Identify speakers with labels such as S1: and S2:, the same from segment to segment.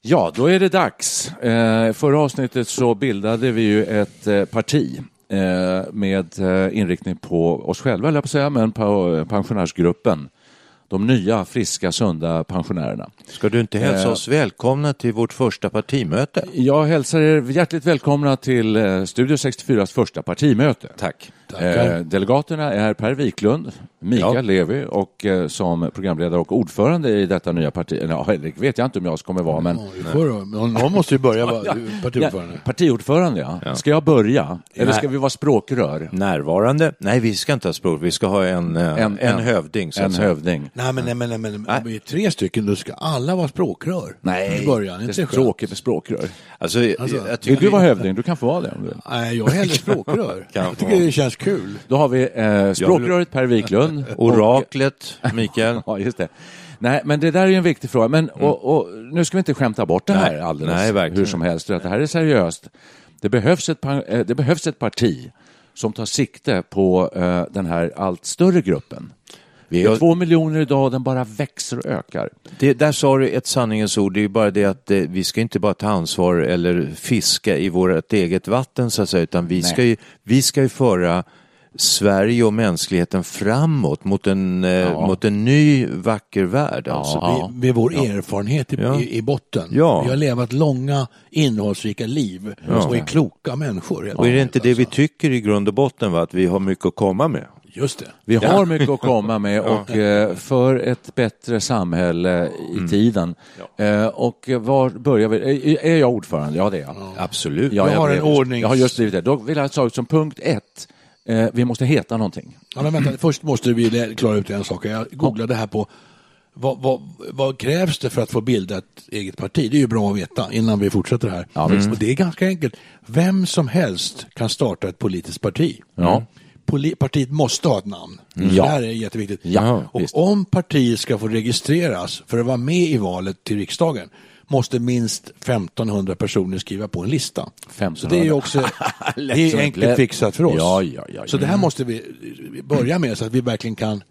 S1: Ja, då är det dags. Eh, förra avsnittet så bildade vi ju ett eh, parti eh, med eh, inriktning på oss själva, eller jag på att säga, men på pensionärsgruppen. De nya, friska, sunda pensionärerna.
S2: Ska du inte
S1: Eh.
S2: hälsa oss välkomna till vårt första partimöte?
S1: Jag hälsar er hjärtligt välkomna till eh, Studio 64s första partimöte.
S2: Tack.
S1: Eh, delegaterna är Per Wiklund, Mikael
S2: Ja.
S1: Levi och eh, som programledare och ordförande i detta nya parti, eller ja, det vet jag inte om jag kommer vara, men
S3: Ja, vi får då. Men Någon måste ju börja vara partiordförande.
S1: Ja, partiordförande, ja. Ska jag börja? Eller ska
S2: Nej.
S1: vi vara språkrör?
S2: Närvarande? Nej, vi ska inte ha språk. Vi ska ha en, en, en, en hövding. Så
S1: En
S2: att säga.
S1: hövding.
S3: Nej men, nej, men, nej, men om vi är tre stycken då ska alla vara språkrör. I början,
S1: det
S3: inte
S1: är
S3: skönt?
S1: tråkigt med språkrör.
S2: Alltså, jag
S1: Vill
S2: tycker
S1: du vara hövding? Du kan få vara det om du vill.
S3: Nej, jag är hellre språkrör.
S2: Kan
S3: jag tycker
S2: vara.
S3: det känns kul.
S1: Då har vi eh, språkröret Per Wiklund.
S2: Oraklet, Mikael.
S1: Ja, just det. Nej, men det där är ju en viktig fråga. Men, och, och, nu ska vi inte skämta bort det här
S2: Nej,
S1: alldeles
S2: nej, verkligen.
S1: hur som helst. för att Det här är seriöst. Det behövs ett, pan- eh, det behövs ett parti som tar sikte på eh, den här allt större gruppen. Vi är
S2: Jag-
S1: två miljoner idag och den bara växer och ökar.
S2: Det, där sa du ett sanningens ord. Det är ju bara det att eh, vi ska inte bara ta ansvar eller fiska i vårt eget vatten så att säga, utan vi ska, ju, vi ska ju föra Sverige och mänskligheten framåt mot en, eh, mot en ny vacker värld. Alltså.
S1: Ja.
S3: Med, med vår erfarenhet i,
S2: Ja.
S3: i, i botten.
S2: Ja.
S3: Vi har levat långa, innehållsrika liv och är kloka människor. helt
S2: Och är det
S3: enkelt,
S2: inte det vi
S3: alltså.
S2: tycker i grund och botten, va? att vi har mycket att komma med?
S3: Just det.
S1: Vi har mycket att komma med och eh, för ett bättre samhälle i
S3: Mm.
S1: tiden. Eh, Och var börjar vi? Eh, Är jag ordförande? Ja, det är jag.
S2: Absolut.
S1: Ja,
S3: Jag har
S1: blev-
S3: en ordnings-
S1: Jag har just blivit det. Då vill jag ta ut som punkt ett, eh, vi måste heta någonting.
S3: Ja, men vänta, först måste vi lä- klara ut en sak. Jag googlade här på vad, vad, vad krävs det för att få bilda ett eget parti? Det är ju bra att veta innan vi fortsätter här. Och det är ganska enkelt. Vem som helst kan starta ett politiskt parti. Poli- partiet måste ha ett namn. Det här är jätteviktigt.
S1: Mm. Ja,
S3: och
S1: visst.
S3: om partiet ska få registreras för att vara med i valet till riksdagen måste minst 1500 personer skriva på en lista. Så det är ju också det är
S1: som en
S3: enkelt
S1: plätt.
S3: fixat för oss.
S1: Ja, ja, ja, Mm.
S3: Så det här måste vi börja med så att vi verkligen kan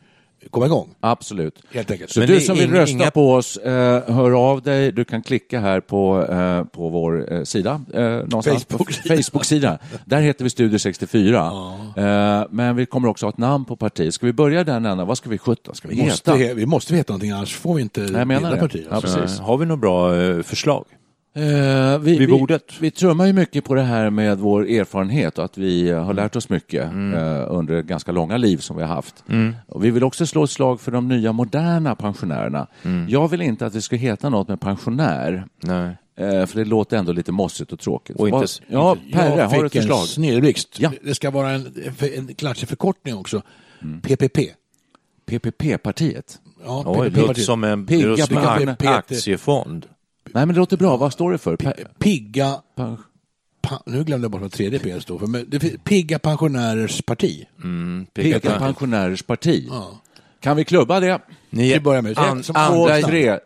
S3: komma igång.
S1: Absolut.
S3: Helt enkelt.
S1: Så
S2: Men
S1: du
S2: det är
S1: som vill
S2: ing-
S1: rösta
S2: inga-
S1: på oss, eh, hör av dig. Du kan klicka här på, eh, på vår eh, sida. Eh, någonstans.
S3: Facebook-sida.
S1: Facebook-sida. Där heter vi Studio 64. Eh, men vi kommer också ha ett namn på partiet. Ska vi börja där, Nanna? Vad ska vi sjutton ska vi heta?
S3: Måste, he- vi måste veta någonting annars får vi inte
S1: jag menar
S3: bilda
S1: det.
S3: parti. Alltså.
S1: Ja,
S2: Eh, Har vi några bra eh, förslag?
S1: Eh, vi,
S2: Vid bordet.
S1: Vi, vi trummar ju mycket på det här med vår erfarenhet och att vi eh, har lärt oss mycket
S2: Mm.
S1: eh, under ganska långa liv som vi har haft. Och vi vill också slå ett slag för de nya moderna pensionärerna. Jag vill inte att det ska heta något med pensionär,
S2: Mm. Nej.
S1: eh, för det låter ändå lite mossigt och tråkigt.
S2: Och inte-
S1: Vad- ja, Perre,
S3: jag
S1: har du ett
S3: fick en
S1: förslag?
S3: snedblixt.
S1: Ja.
S3: Det ska vara en, en klatschig förkortning också.
S1: Mm.
S3: PPP.
S1: PPP-partiet?
S3: Ja,
S2: Oj, det låter
S3: PPP-partiet.
S2: som en, det
S1: Pigga
S2: låter som en
S3: Peter.
S2: aktiefond.
S1: Nej, men det låter bra. Vad står det för? Per-
S3: Pigga...
S1: Pen-
S3: Pa, nu glömde jag bort vad tredje P står för. Men det, finns- pigga pensionärers parti.
S1: Mm.
S2: Pigga
S1: Peka
S2: Bank.
S1: pensionärers parti. Kan vi klubba det?
S2: Ni,
S3: Till att börja med.
S2: An,
S3: Som
S1: Två,
S2: andra,
S1: tre,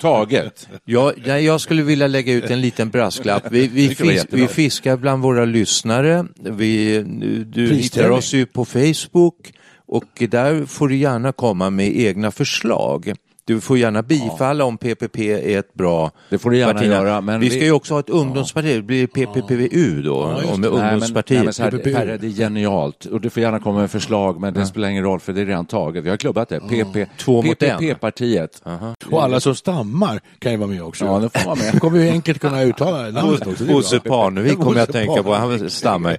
S1: taget.
S2: jag, nej, jag skulle vilja lägga ut en liten brasklapp. Vi, vi,
S1: tycker det var
S2: fisk,
S1: jättebra.
S2: vi fiskar bland våra lyssnare. Vi, du hittar
S3: Pristävling.
S2: oss ju på Facebook och där får du gärna komma med egna förslag Du får gärna bifalla om PPP är ett bra
S1: Det får du gärna
S2: parti.
S1: göra, men
S2: vi
S1: vi-
S2: ska ju också ha ett ungdomsparti. Det blir PPPVU då, om det är ungdomspartiet.
S1: Nej, men, nej, men så här, Perre, det är genialt. Och du får gärna komma med förslag, men det spelar ingen roll för det är redan taget. Vi har klubbat det. PP,
S2: Två mot en.
S1: PPP-partiet.
S3: Och alla som stammar kan ju vara med också.
S1: Ja, det får vara med.
S3: kommer ju enkelt kunna uttala namnet också. det är bra.
S2: Bosse Parnevik kommer jag att
S3: Bosse
S2: tänka på,
S3: Parnevik.
S2: han stammar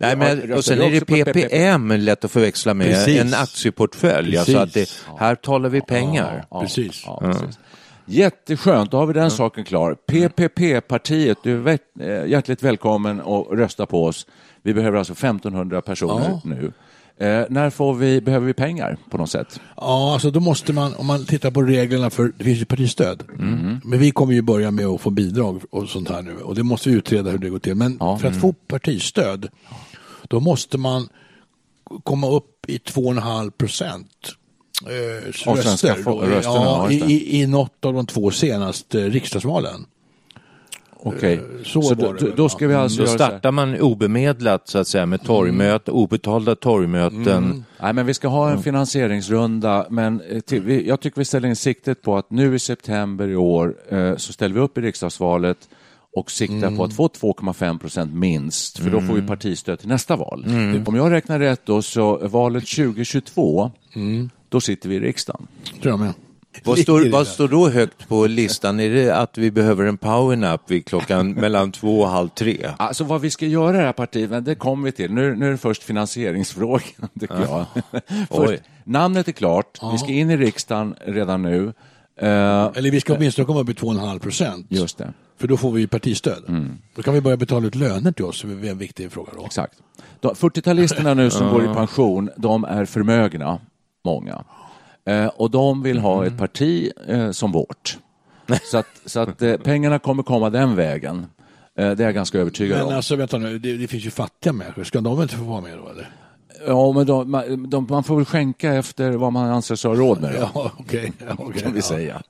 S2: Nej, men, Och
S1: röstar
S2: sen
S1: du
S2: är det
S1: också på
S2: PPM, lätt att förväxla med
S3: Precis.
S2: en aktieportfölj. Alltså att det, här talar vi pengar.
S1: Ja,
S3: Precis.
S1: Ja, precis. Jätteskönt, då har vi den saken klar. PPP-partiet, du är vä- eh, hjärtligt välkommen att rösta på oss. Vi behöver alltså 1500 personer nu. Eh, när får vi, behöver vi pengar på något sätt?
S3: Ja, alltså då måste man, om man tittar på reglerna för, det finns ju partistöd.
S1: Mm.
S3: Men vi kommer ju börja med att få bidrag och sånt här nu och det måste vi utreda hur det går till. Men för
S1: Mm.
S3: att få partistöd, då måste man komma upp i 2,5 procent. Eh,
S1: Av svenska
S3: röster
S1: fo- rösterna, ja,
S3: ja,
S1: just
S3: i, i, i något av de två senaste riksdagsvalen.
S1: Okej,
S3: så
S1: då,
S3: var det
S1: då-
S3: väl,
S1: då
S3: va?
S1: ska vi alltså
S2: Så
S1: göra så här.
S2: startar man obemedlat så att säga med torgmöten,
S3: Mm.
S2: obetalda torgmöten.
S1: Nej, men vi ska ha en finansieringsrunda, men eh, till, vi, jag tycker vi ställer in siktet på att nu i september i år eh, så ställer vi upp i riksdagsvalet och siktar på att få 2,5 procent minst, för då får vi partistöd till nästa val. Om jag räknar rätt då, så valet 2022, då sitter vi i riksdagen.
S3: Tror jag med.
S2: Vad står, vad står då högt på listan? Är det att vi behöver en powernap vid klockan mellan två och halv tre?
S1: Alltså vad vi ska göra i det här partiet, men det kommer vi till. Nu, nu är det först finansieringsfrågan, tycker jag. först,
S2: Oj.
S1: namnet är klart, vi ska in i riksdagen redan nu. Eh,
S3: Eller vi ska åtminstone komma upp i 2,5 procent.
S1: just Mm. det.
S3: För då får vi ju partistöd. Då kan vi börja betala ut löner till oss, det är en viktig fråga då.
S1: Exakt. De 40-talisterna nu som går i pension, de är förmögna, många. Eh, och de vill ha ett parti eh, som vårt. Så att, så att eh, pengarna kommer komma den vägen. Eh, det är jag ganska övertygad
S3: Men
S1: om.
S3: alltså vänta nu, det, det finns ju fattiga människor, ska de inte få vara med då eller?
S1: Ja, men de, man- de, man får väl skänka efter vad man anser sig ha råd med. Då.
S3: Ja, okej. ja, okej,
S1: Kan vi
S3: ja.
S1: säga.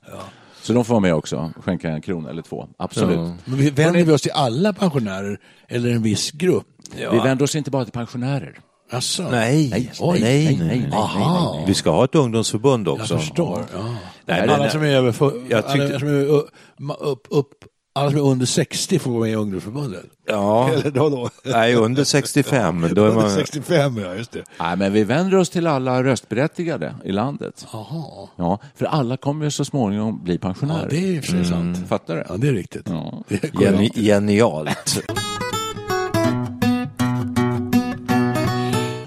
S1: Så de får vara med också, skänka en krona eller två. Absolut.
S3: Men vi vänder vi oss till alla pensionärer eller en viss grupp?
S1: Vi vänder oss inte bara till pensionärer.
S3: Alltså,
S2: Nej,
S3: oj,
S2: nej, nej,
S3: Aha.
S2: Vi ska ha ett ungdomsförbund
S3: Jag
S2: också.
S3: förstår. Ja.
S2: Nej,
S3: alla,
S2: men-
S3: som är över, för,
S2: Jag tyckte-
S3: alla, som är, ö- ma- upp, upp, alla som är under 60 får vara med i ungdomsförbundet.
S2: Ja,
S3: Eller då då?
S2: nej, under 65. Då är
S3: Under
S2: man...
S3: 65, ja just det.
S1: Nej, men vi vänder oss till alla röstberättigade i landet.
S3: Jaha,
S1: Ja, för alla kommer ju så småningom bli
S3: ja,
S1: pensionärer. Mm.
S3: det är ju i och för sig sant.
S1: Fattar du?
S3: Ja, det är riktigt.
S1: Ja.
S3: Det är korrekt.
S2: Geni- Genialt.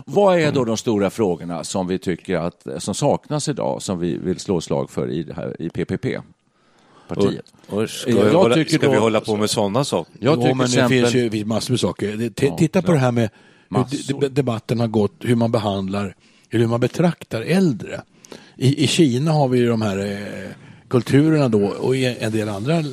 S1: Vad är
S2: Mm.
S1: då de stora frågorna som vi tycker att, som saknas idag, som vi vill slå slag för i, det här, i PPP-partiet?
S2: Usch, Ska,
S1: Jag
S2: vi hålla,
S1: tycker
S2: ska vi
S1: då-
S2: hålla på med sådana saker?
S1: Jag
S3: Jo,
S1: tycker
S3: men
S1: till exempel,
S3: det finns ju det finns massor med saker. Det- t- Titta på det här med hur
S1: Massor.
S3: de- de- debatten har gått, hur man behandlar, eller hur man betraktar äldre. I, I Kina har vi ju de här eh, kulturerna då, och i en del andra eh,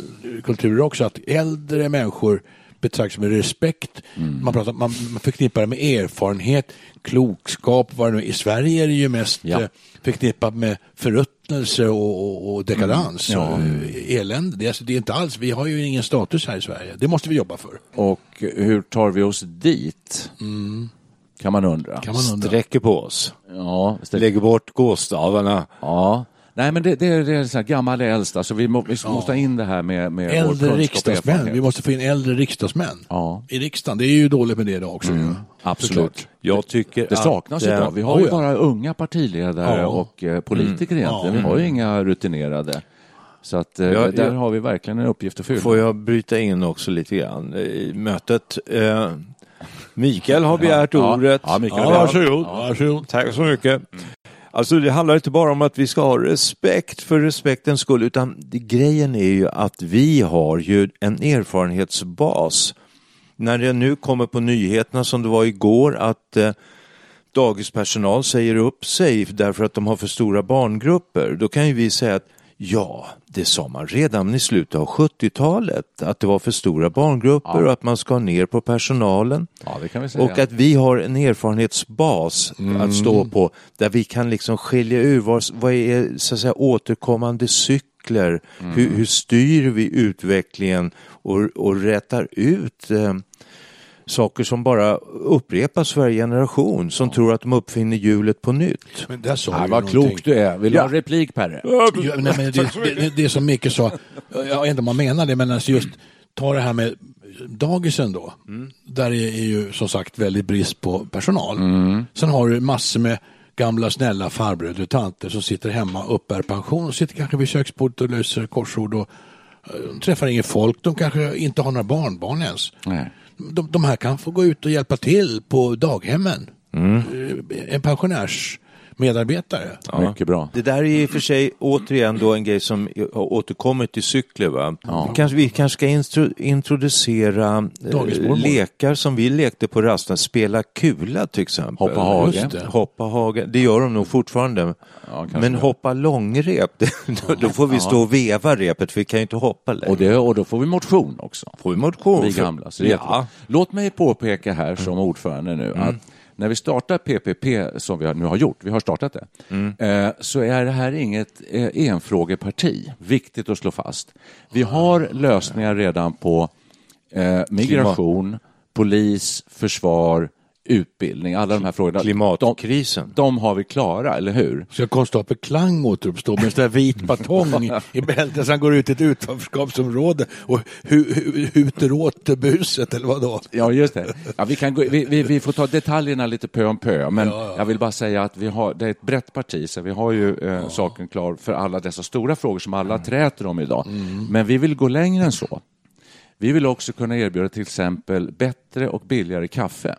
S3: kulturer också, att äldre människor betraktas med respekt. Man, pratar, man, man förknippar det med erfarenhet, klokskap, vad det nu är. I Sverige är det ju mest
S1: Ja.
S3: eh, förknippat med förruttnelse och, och, och dekadans
S1: Mm.
S3: och eh, elände. Det, är- alltså, det är inte alls, vi har ju ingen status här i Sverige. Det måste vi jobba för.
S1: och hur tar vi oss dit? Kan man undra.
S3: Mm. Kan man undra.
S2: Sträcker på oss.
S1: Ja, ställ-
S2: Lägger bort gåstavarna.
S1: ja. Nej, men det, det är, det är så här gammal är äldst, alltså vi, må, vi måste ha in det här med, med vår kunskap
S3: Äldre
S1: och
S3: riksdagsmän.
S1: erfarenhet.
S3: Vi måste få in äldre riksdagsmän
S1: Ja. Mm.
S3: i riksdagen. Det är ju dåligt med det idag också. ju.
S1: Absolut.
S2: Jag tycker
S1: Det saknas
S2: att, eh,
S1: idag. Vi har
S3: oh
S1: ju
S3: ja.
S1: bara unga partiledare
S3: Ja.
S1: och
S2: Mm.
S1: eh, politiker egentligen. Vi har ju inga rutinerade. Så att eh,
S2: Ja,
S1: där
S2: jag-
S1: har vi verkligen en uppgift att fylla.
S2: Får jag bryta in också lite grann Eh, i mötet? Eh, Mikael har begärt
S1: Ja,
S2: ordet.
S1: ja, Mikael.
S2: Ja, varsågod.
S3: Ja, varsågod.
S2: Tack så mycket. Alltså det handlar inte bara om att vi ska ha respekt för respektens skull utan det- grejen är ju att vi har ju en erfarenhetsbas. När det nu kommer på nyheterna som det var igår att eh, dagispersonal säger upp sig därför att de har för stora barngrupper, då kan ju vi säga att ja, det sa man redan i slutet av 70-talet, att det var för stora barngrupper och att man ska ner på personalen.
S1: Ja, det kan vi säga. Mm.
S2: Och att vi har en erfarenhetsbas att stå på där vi kan liksom skilja ur vad, vad är så att säga, återkommande cykler,
S1: Mm.
S2: hur, hur styr vi utvecklingen och, och rätar ut eh, saker som bara upprepas varje generation som tror att de uppfinner hjulet på nytt.
S3: Men där sa
S1: Ah, vad
S3: du någonting.
S1: klok du är. Vill du ha en replik, Perre?
S3: Ja, nej, men det, det, det som Micke sa, jag vet inte om man menar det, men alltså just ta det här med dagisen då. Där är är ju som sagt väldigt brist på personal. Sen har du massor med gamla snälla farbröder och tanter som sitter hemma och uppbär pension och sitter kanske vid köksbordet och löser korsord och eh, de träffar inget folk. De kanske inte har några barnbarn ens.
S1: Nej.
S3: De, de här kan få gå ut och hjälpa till på daghemmen. Eh, En pensionärsmedarbetare.
S1: Mycket bra.
S2: Det där är i och för sig återigen då en grej som har återkommit i cykler. Va? Vi, kanske, vi kanske ska instru- introducera eh,
S3: Dagismormor.
S2: lekar som vi lekte på rasten. Spela kula till exempel.
S1: Hoppa hage. Just
S3: det.
S2: Hoppa hage. Det gör de nog fortfarande.
S1: kanske
S2: Men
S1: det.
S2: hoppa långrep, det, då, då får vi stå och veva repet för vi kan ju inte hoppa längre.
S1: Och, det, och då får vi motion också.
S2: får vi motion.
S1: Vi
S2: Oh, för-
S1: gamla. Så det är jättebra.
S2: ja. Mm.
S1: Låt mig påpeka här som ordförande nu att när vi startar PPP, som vi har- nu har gjort, vi har startat det,
S2: Mm.
S1: eh, så är det här inget eh, enfrågeparti. Viktigt att slå fast. Vi
S2: Ah,
S1: har lösningar redan på eh, migration, polis, försvar, utbildning, alla de här frågorna.
S2: Klimatkrisen.
S1: De, de har vi klara, eller hur?
S3: Ska konstapel Klang återuppstå med en sån där vit batong i- i bältet så han går ut i ett utanförskapsområde och hu- hu- huter åt buset eller vadå?
S1: Ja, just det. Ja, vi, kan gå, vi, vi, vi får ta detaljerna lite pö om pö, men jag vill bara säga att vi har, det är ett brett parti, så vi har ju eh, saken klar för alla dessa stora frågor som alla träter om idag. Men vi vill gå längre än så. Vi vill också kunna erbjuda till exempel bättre och billigare kaffe.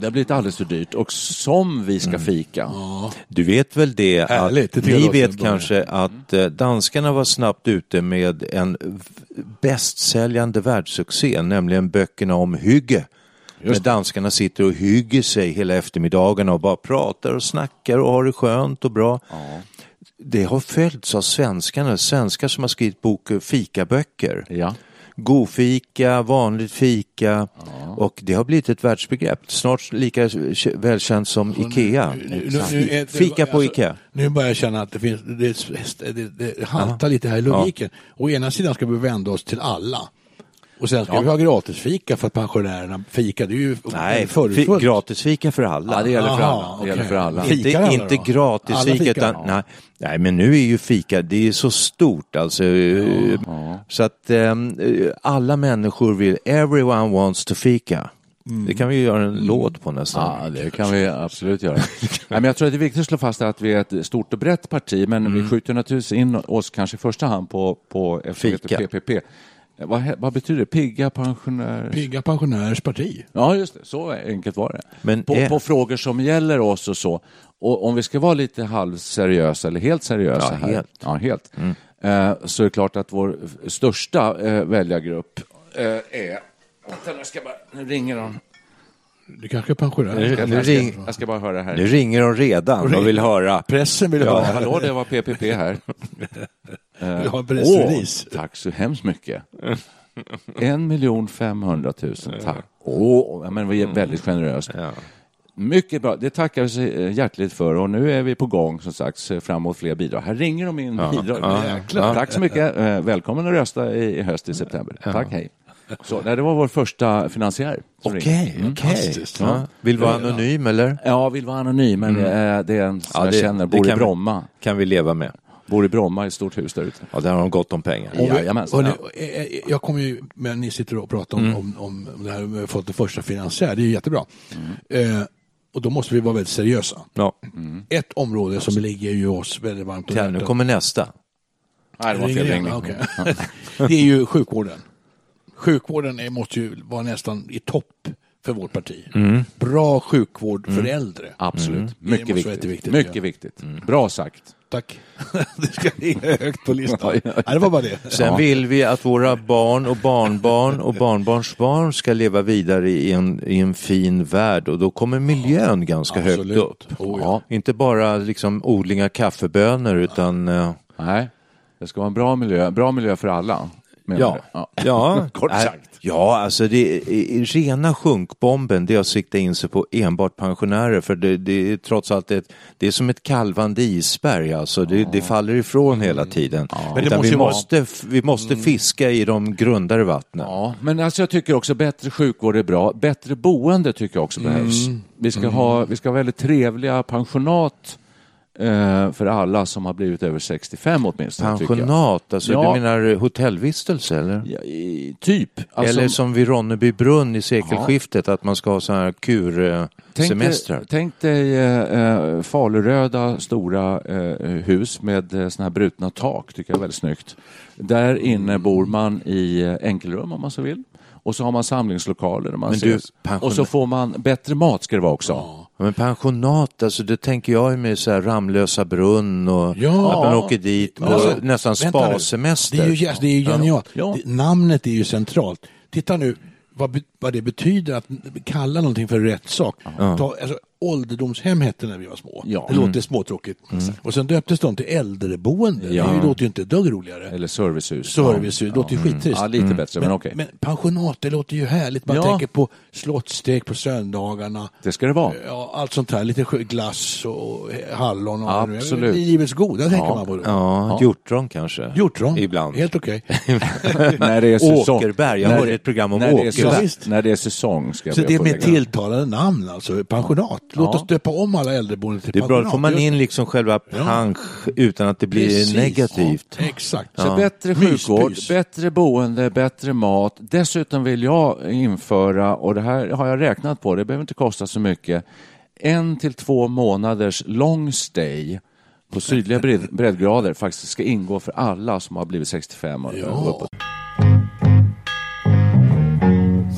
S1: Det har blivit alldeles för dyrt och som vi ska fika.
S2: Du vet väl det att
S3: Härligt, det tycker
S2: ni
S3: jag låter
S2: vet
S3: bra. Mm.
S2: kanske att eh, danskarna var snabbt ute med en v- bästsäljande världssuccé, nämligen böckerna om hygge. När danskarna sitter och hygger sig hela eftermiddagen och bara pratar och snackar och har det skönt och bra. Det har följts av svenskarna, svenskar som har skrivit bok, eh, fikaböcker.
S1: Ja.
S2: Godfika, vanligt fika och det har blivit ett världsbegrepp. Snart lika välkänt som Ikea.
S3: är-
S2: Fika på
S3: alltså,
S2: Ikea.
S3: Nu börjar jag känna att det, finns, det, det, det haltar lite här i logiken. Å ena sidan ska vi vända oss till alla. Och sen ska vi ha gratisfika för att pensionärerna fikar. Det är ju
S2: Nej, fi-
S3: förutfullt.
S2: gratisfika för alla.
S1: Ja, det gäller för
S3: Aha,
S1: alla. Det gäller
S3: okej.
S1: för alla.
S3: Fika.
S2: Inte,
S3: Fikar alla
S2: inte
S3: då?
S2: gratis
S3: Alla
S2: fika,
S3: fikar?
S2: utan nej, nej, men nu är ju fika, det är ju så stort alltså. eh, Så att ehm, eh, alla människor vill, everyone wants to fika. Det kan vi ju göra en låt på nästan.
S1: Mm. Ja, det kan vi absolut göra. Nej, men jag tror att det är viktigt att slå fast att vi är ett stort och brett parti, men
S2: Mm.
S1: vi skjuter naturligtvis in oss kanske i första hand på, på F-
S2: Fika.
S1: PPP. Eh, Vad, he- vad betyder det? Pigga pensionärer?
S3: Pigga pensionärers parti.
S1: Ja, just det. Så enkelt var det.
S2: Men
S1: på,
S2: är-
S1: på frågor som gäller oss och så. Och om vi ska vara lite halvseriösa eller helt seriösa
S2: Ja,
S1: här.
S2: helt. Mm.
S1: Ja, helt. Eh, så är det klart att vår f- största eh, väljargrupp eh, är... Vänta, nu, ska jag bara... nu ringer de.
S3: Det kanske är pensionärer.
S2: Nu
S1: Jag ska,
S2: ring-
S1: jag ska bara höra här.
S2: Nu ringer de redan och vill höra.
S3: Pressen vill
S1: Ja,
S3: ha
S1: hallå, det var PPP här.
S3: vill ha en
S1: Åh,
S3: pressrelease.
S1: tack så hemskt mycket. En miljon femhundratusen, tack. Åh, ja, men det var väldigt generöst. Mycket bra, det tackar vi så eh, hjärtligt för och nu är vi på gång som sagt så framåt fler bidrag. Här ringer de in bidrag.
S3: jäklar.
S1: Tack så mycket, Eh, välkommen att rösta i i höst i september. Tack, hej. Så, nej, det var vår första finansiär. som ringde. Mm. Eh,
S2: Okej, okej.
S3: Fantastiskt.
S2: Ja. Vill vara anonym eller?
S1: Ja, vill vara anonym, men eh, det är en som jag känner, bor i
S2: kan vi-
S1: Bromma.
S2: kan vi leva med.
S1: Bor i Bromma, i ett stort hus där ute.
S2: Ja, där har de gott om pengar.
S1: Och- Jajamensan.
S3: Hörrni, eh, eh, Jag kommer ju, men ni sitter och pratar om,
S1: Mm.
S3: om, om, om det här med fått det första finansiär, det är ju jättebra. Eh, och då måste vi vara väldigt seriösa.
S2: Ja.
S1: Mm.
S3: Ett område som ligger ju oss väldigt varmt om
S2: Ja, nu kommer nästa.
S1: Nej, det var
S3: Ringer
S1: fel
S3: igen?
S1: ringning.
S3: Okej. det är ju sjukvården. Sjukvården är, måste ju vara nästan i topp för vårt parti. Bra sjukvård för äldre.
S1: Mm.
S3: Mm.
S1: Absolut.
S2: Mm.
S3: Det
S1: Mycket
S3: måste vara
S1: viktigt.
S3: jätteviktigt,
S1: Mycket
S3: ja.
S1: viktigt. Bra sagt.
S3: Tack. det ska ligga högt på listan. Nej, det var bara det.
S2: Sen vill vi att våra barn och barnbarn och barnbarnsbarn ska leva vidare i en, i en fin värld och då kommer miljön ganska
S3: Absolut.
S2: högt upp.
S3: Oh,
S2: ja. Inte bara liksom odlingar kaffebönor utan eh,
S1: Nej, det ska vara en bra miljö. Bra miljö för alla. menar
S2: Ja,
S1: du?
S2: ja. ja.
S1: Kort
S2: Nej,
S1: sagt.
S2: Ja, alltså det är, i- i rena sjunkbomben det är att sikta in sig på enbart pensionärer för det, det är trots allt ett, det är som ett kalvande isberg alltså, det, det faller ifrån hela tiden.
S1: Men det
S2: Utan
S1: måste
S2: vi,
S1: ju vara- Mm.
S2: måste, f- vi måste fiska i de grundare vattnen.
S1: Ja, men alltså jag tycker också bättre sjukvård är bra. Bättre boende tycker jag också behövs.
S2: Mm.
S1: Vi ska, ha, vi ska ha väldigt trevliga pensionat eh, för alla som har blivit över 65 åtminstone. tycker jag.
S2: Pensionat, alltså
S1: Ja.
S2: du menar hotellvistelse eller?
S1: Ja, i, typ. Alltså,
S2: eller som vid Ronneby brunn i sekelskiftet, att man ska ha sådana här
S1: tänk,
S2: kursemestrar.
S1: dig, tänk dig eh, eh, faluröda stora eh, hus med eh, såna här brutna tak, tycker jag är väldigt snyggt. Där inne bor man i eh, enkelrum om man så vill. Och så har man samlingslokaler. Där man
S2: Men du,
S1: ses.
S2: pensionär-
S1: Och så får man bättre mat ska det vara också.
S2: Ja, Men pensionat, alltså det tänker jag ju med så här Ramlösa brunn och
S3: Ja.
S2: att man åker dit och
S3: Alltså,
S2: nästan
S3: vänta nu.
S2: spasemester.
S3: Det är ju, yes, det är ju genialt.
S1: Ja.
S3: Det, namnet är ju centralt. Titta nu vad, be- vad det betyder att kalla någonting för rätt sak. Ta, alltså, ålderdomshem hette när vi var små.
S1: Ja. Mm.
S3: Det låter småtråkigt. Och sen döptes de till äldreboende.
S1: Ja.
S3: Det låter ju inte ett dugg roligare.
S1: Eller servicehus.
S3: Servicehus, det låter ju skittrist.
S1: Ja, lite
S2: Mm.
S1: bättre, men, okej.
S3: Men pensionat, det låter ju härligt. Man
S1: Ja.
S3: tänker på slottstek på söndagarna.
S1: Det ska det vara.
S3: Ja, allt sånt här. Lite skö- glass och hallon. Och
S1: Absolut.
S3: Livets goda tänker man på då.
S2: Ja, hjortron kanske.
S3: Hjortron.
S2: Ibland.
S3: Helt okej.
S1: när det är säsong.
S2: Åkerberg, jag
S1: När
S2: hörde
S1: det-
S2: ett program om
S1: när det är
S2: Åkerberg.
S1: säsong-
S3: Ja, visst.
S1: När det är säsong ska jag
S3: Så
S1: be
S3: det är
S1: att få
S3: med
S1: lägga.
S3: tilltalande namn alltså, pensionat. Låt
S1: Ja.
S3: oss döpa om alla äldreboenden till
S2: Det är bra,
S3: pensionat.
S2: då får man in liksom själva
S3: Ja.
S2: pansch utan att det blir
S3: Precis.
S2: negativt.
S3: Ja, exakt.
S1: Så bättre
S3: Myspys.
S1: sjukvård, bättre boende, bättre mat. Dessutom vill jag införa, och det här har jag räknat på, det behöver inte kosta så mycket, en till två månaders long stay på sydliga bred- breddgrader faktiskt ska ingå för alla som har blivit 65 och och uppåt.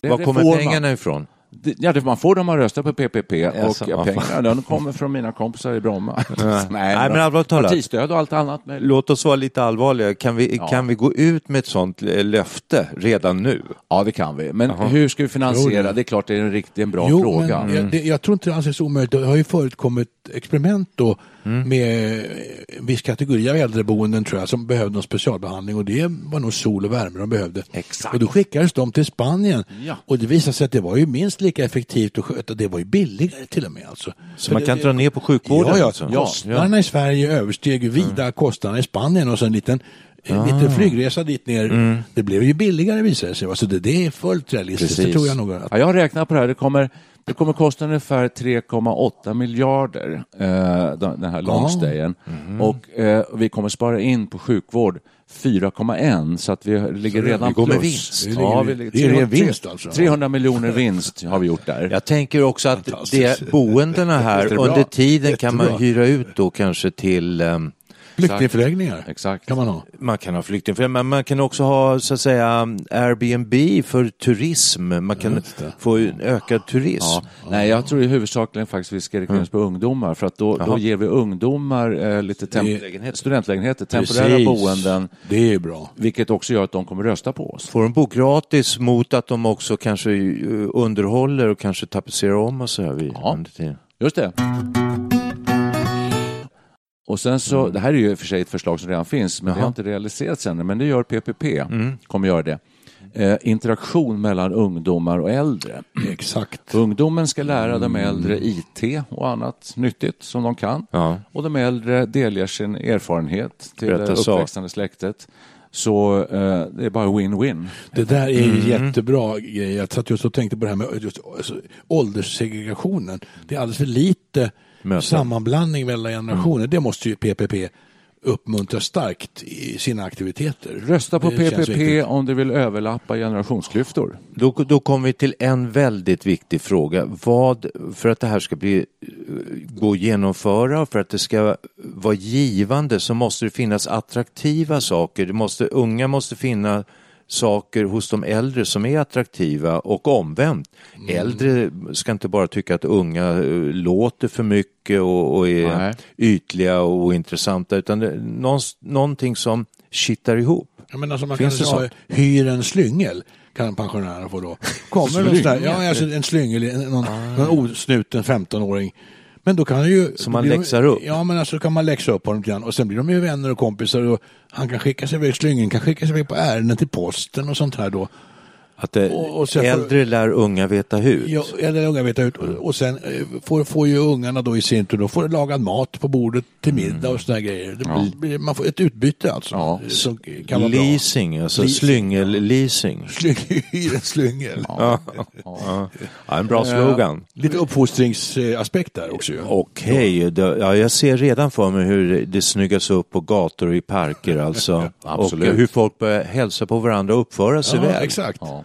S1: Det-
S2: Var
S1: det
S2: kommer
S1: får man.
S2: pengarna ifrån?
S1: Det- Ja, det- man får dem man röstar på PPP
S2: Jaså,
S1: och ja,
S2: vad
S1: pengarna de kommer från mina kompisar i Bromma.
S2: Nej, men allvarligt talat.
S1: Partistöd och allt annat. Men...
S2: Låt oss vara lite allvarliga. Kan vi,
S1: Ja.
S2: kan vi gå ut med ett sånt eh, löfte redan nu?
S1: Ja, det kan vi. Men hur ska vi
S3: Jo,
S1: finansiera?
S3: det-
S1: det. är klart det är en riktigt en bra
S3: Jo,
S1: fråga. Mm.
S3: men jag, det, jag tror inte det anses omöjligt. Det har ju förekommit experiment då med eh, en viss kategori av äldreboenden tror jag som behövde någon specialbehandling och det var nog sol och värme de behövde.
S1: Exakt.
S3: Och då skickades de till Spanien
S1: Ja.
S3: och det visade sig att det var ju minst lika effektivt att sköta. Det var ju billigare till och med alltså.
S2: Så man kan dra ner på sjukvården?
S3: Ja, ja.
S2: alltså.
S3: Kostnaderna i Sverige översteg ju vida
S1: Mm.
S3: kostnaderna i Spanien och så en liten, en
S1: Ah.
S3: liten flygresa dit ner.
S1: Mm.
S3: Det blev ju billigare visade det sig. va? Så det, det är fullt realistiskt, det
S1: Precis.
S3: tror jag nog. Att,
S1: Ja, jag har räknat på det här. Det kommer, det kommer kosta ungefär 3,8 miljarder, eh, den den här långstayen.
S3: Mhm.
S1: Och eh, vi kommer spara in på sjukvård 4,1 så att vi ligger redan
S2: går med
S1: plus.
S2: vinst.
S1: Vi ligger- Ja, vi ligger,
S3: Det är ren vinst alltså.
S1: 300 miljoner vinst har vi gjort där.
S2: Jag tänker också att
S3: Fantastiskt.
S2: det, boendena här,
S3: Jättebra.
S2: under tiden kan man
S3: Jättebra.
S2: hyra ut då kanske till ehm,
S3: flyktingförläggningar
S1: Exakt.
S3: kan man ha.
S2: man kan ha flyktingförläggningar, men man kan också ha så att säga Airbnb för turism. Man kan få en ökad turism.
S1: Ja. Nej, jag tror ju huvudsakligen faktiskt vi ska
S3: Mm.
S1: rekryteras på ungdomar för att då, då ger vi ungdomar eh, lite tem-
S2: Studentlägenheter.
S1: studentlägenheter, temporära
S3: Precis.
S1: boenden,
S3: Det är bra.
S1: vilket också gör att de kommer rösta på oss.
S2: Får de bo gratis mot att de också kanske eh, underhåller och kanske tapetserar om och så här vid
S1: Ja.
S2: under tiden.
S1: Just det. Och sen så, det här är ju i och för sig ett förslag som redan finns, men det har
S2: Jaha.
S1: inte realiserats ännu, men det gör PPP, kommer göra det. Eh, interaktion mellan ungdomar och äldre.
S3: Exakt.
S1: Ungdomen ska lära de äldre IT och annat nyttigt som de kan.
S2: Ja.
S1: Och de äldre delger sin erfarenhet till
S2: Berätta
S1: det
S2: så.
S1: uppväxande släktet. Så eh, det är bara win-win.
S3: Det där är ju
S1: Mm.
S3: jättebra grej. Jag satt just och tänkte på det här med just, alltså, ålderssegregationen. Det är alldeles för lite
S2: Möten.
S3: sammanblandning mellan
S1: Mm.
S3: generationer. Det måste ju PPP uppmuntra starkt i sina aktiviteter.
S1: Rösta på
S3: Det känns viktigt.
S1: PPP om du vill överlappa generationsklyftor.
S2: Då, då kommer vi till en väldigt viktig fråga. Vad, för att det här ska bli, eh, gå att genomföra och för att det ska vara givande så måste det finnas attraktiva saker. Det måste, unga måste finna saker hos de äldre som är attraktiva och omvänt. Äldre ska inte bara tycka att unga eh, låter för mycket och, och är
S1: Nej.
S2: ytliga och ointressanta utan det, någonst- någonting som kittar ihop.
S3: Jag menar som man
S2: Finns
S3: kan
S2: det
S3: säga, hyr en slyngel kan pensionärerna få då. Kommer en, sån där, ja, alltså en slyngel, en, någon, någon osnuten 15-åring Men då kan han ju...
S2: Som man
S3: blir de-
S2: läxar upp.
S3: Ja, men alltså kan man läxa upp honom lite grann. Och sen blir de ju vänner och kompisar och han kan skicka sig iväg, slyngingen kan skicka sig iväg på ärenden till posten och sånt här då.
S2: Att det,
S3: Och- och sen får-
S2: äldre lär unga veta hut.
S3: Ja, eller unga vet jag ut. Och och sen eh, får, får ju ungarna då i sin tur, då får de lagad mat på bordet till middag och såna här grejer. Det blir, Man får ett utbyte alltså.
S1: Ja.
S3: Som kan vara bra.
S2: leasing, alltså slyngel-leasing.
S3: Slyng- Hyr en slyngel.
S2: Ja. Ja. Ja, en
S1: Eh,
S2: bra slogan.
S3: Lite uppfostringsaspekt där också ju.
S2: Okej, det- ja, jag ser redan för mig hur det snyggas upp på gator och i parker alltså.
S1: Absolut.
S2: Och hur folk börjar hälsa på varandra och uppföra sig
S3: Ja,
S2: väl.
S3: exakt.
S1: Ja.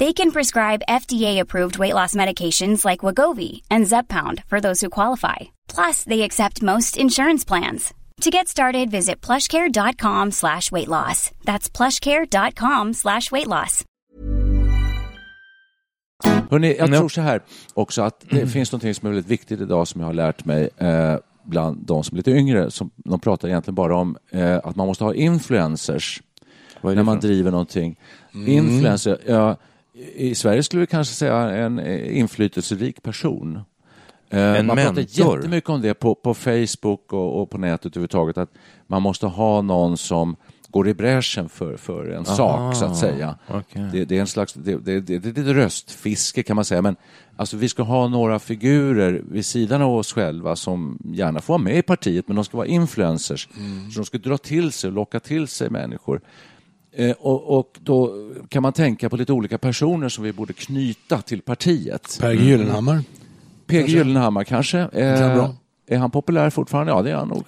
S4: They can prescribe FDA-approved weight loss medications like Wagovi and Zepbound for those who qualify. Plus, they accept most insurance plans. To get started, visit plushcare.com slash weight loss. That's plushcare.com slash weight loss.
S1: Hörrni, jag
S2: Ja.
S1: tror så här också att
S2: Mm.
S1: det finns något som är väldigt viktigt idag som jag har lärt mig eh, bland de som är lite yngre. Som, de pratar egentligen bara om eh, att man måste ha influencers när man driver någonting.
S2: Mm.
S1: Influencer, ja, i Sverige skulle vi kanske säga en eh, inflytelserik person. Eh,
S2: En
S1: man
S2: mentor.
S1: pratar jättemycket om det på, på Facebook och, och på nätet överhuvudtaget att man måste ha någon som går i bräschen för, för en sak så att säga.
S2: okej.
S1: Det, det är en slags, det, det, det, det är lite röstfiske kan man säga, men alltså vi ska ha några figurer vid sidan av oss själva som gärna får vara med i partiet, men de ska vara influencers. Så de ska dra till sig och locka till sig människor. Eh, och, och då kan man tänka på lite olika personer som vi borde knyta till partiet.
S3: Per
S2: Mm.
S3: Gyllenhammar.
S1: PG Gyllenhammar kanske?
S3: han
S1: Eh,
S3: bra?
S1: är han populär fortfarande? Ja, det är han nog.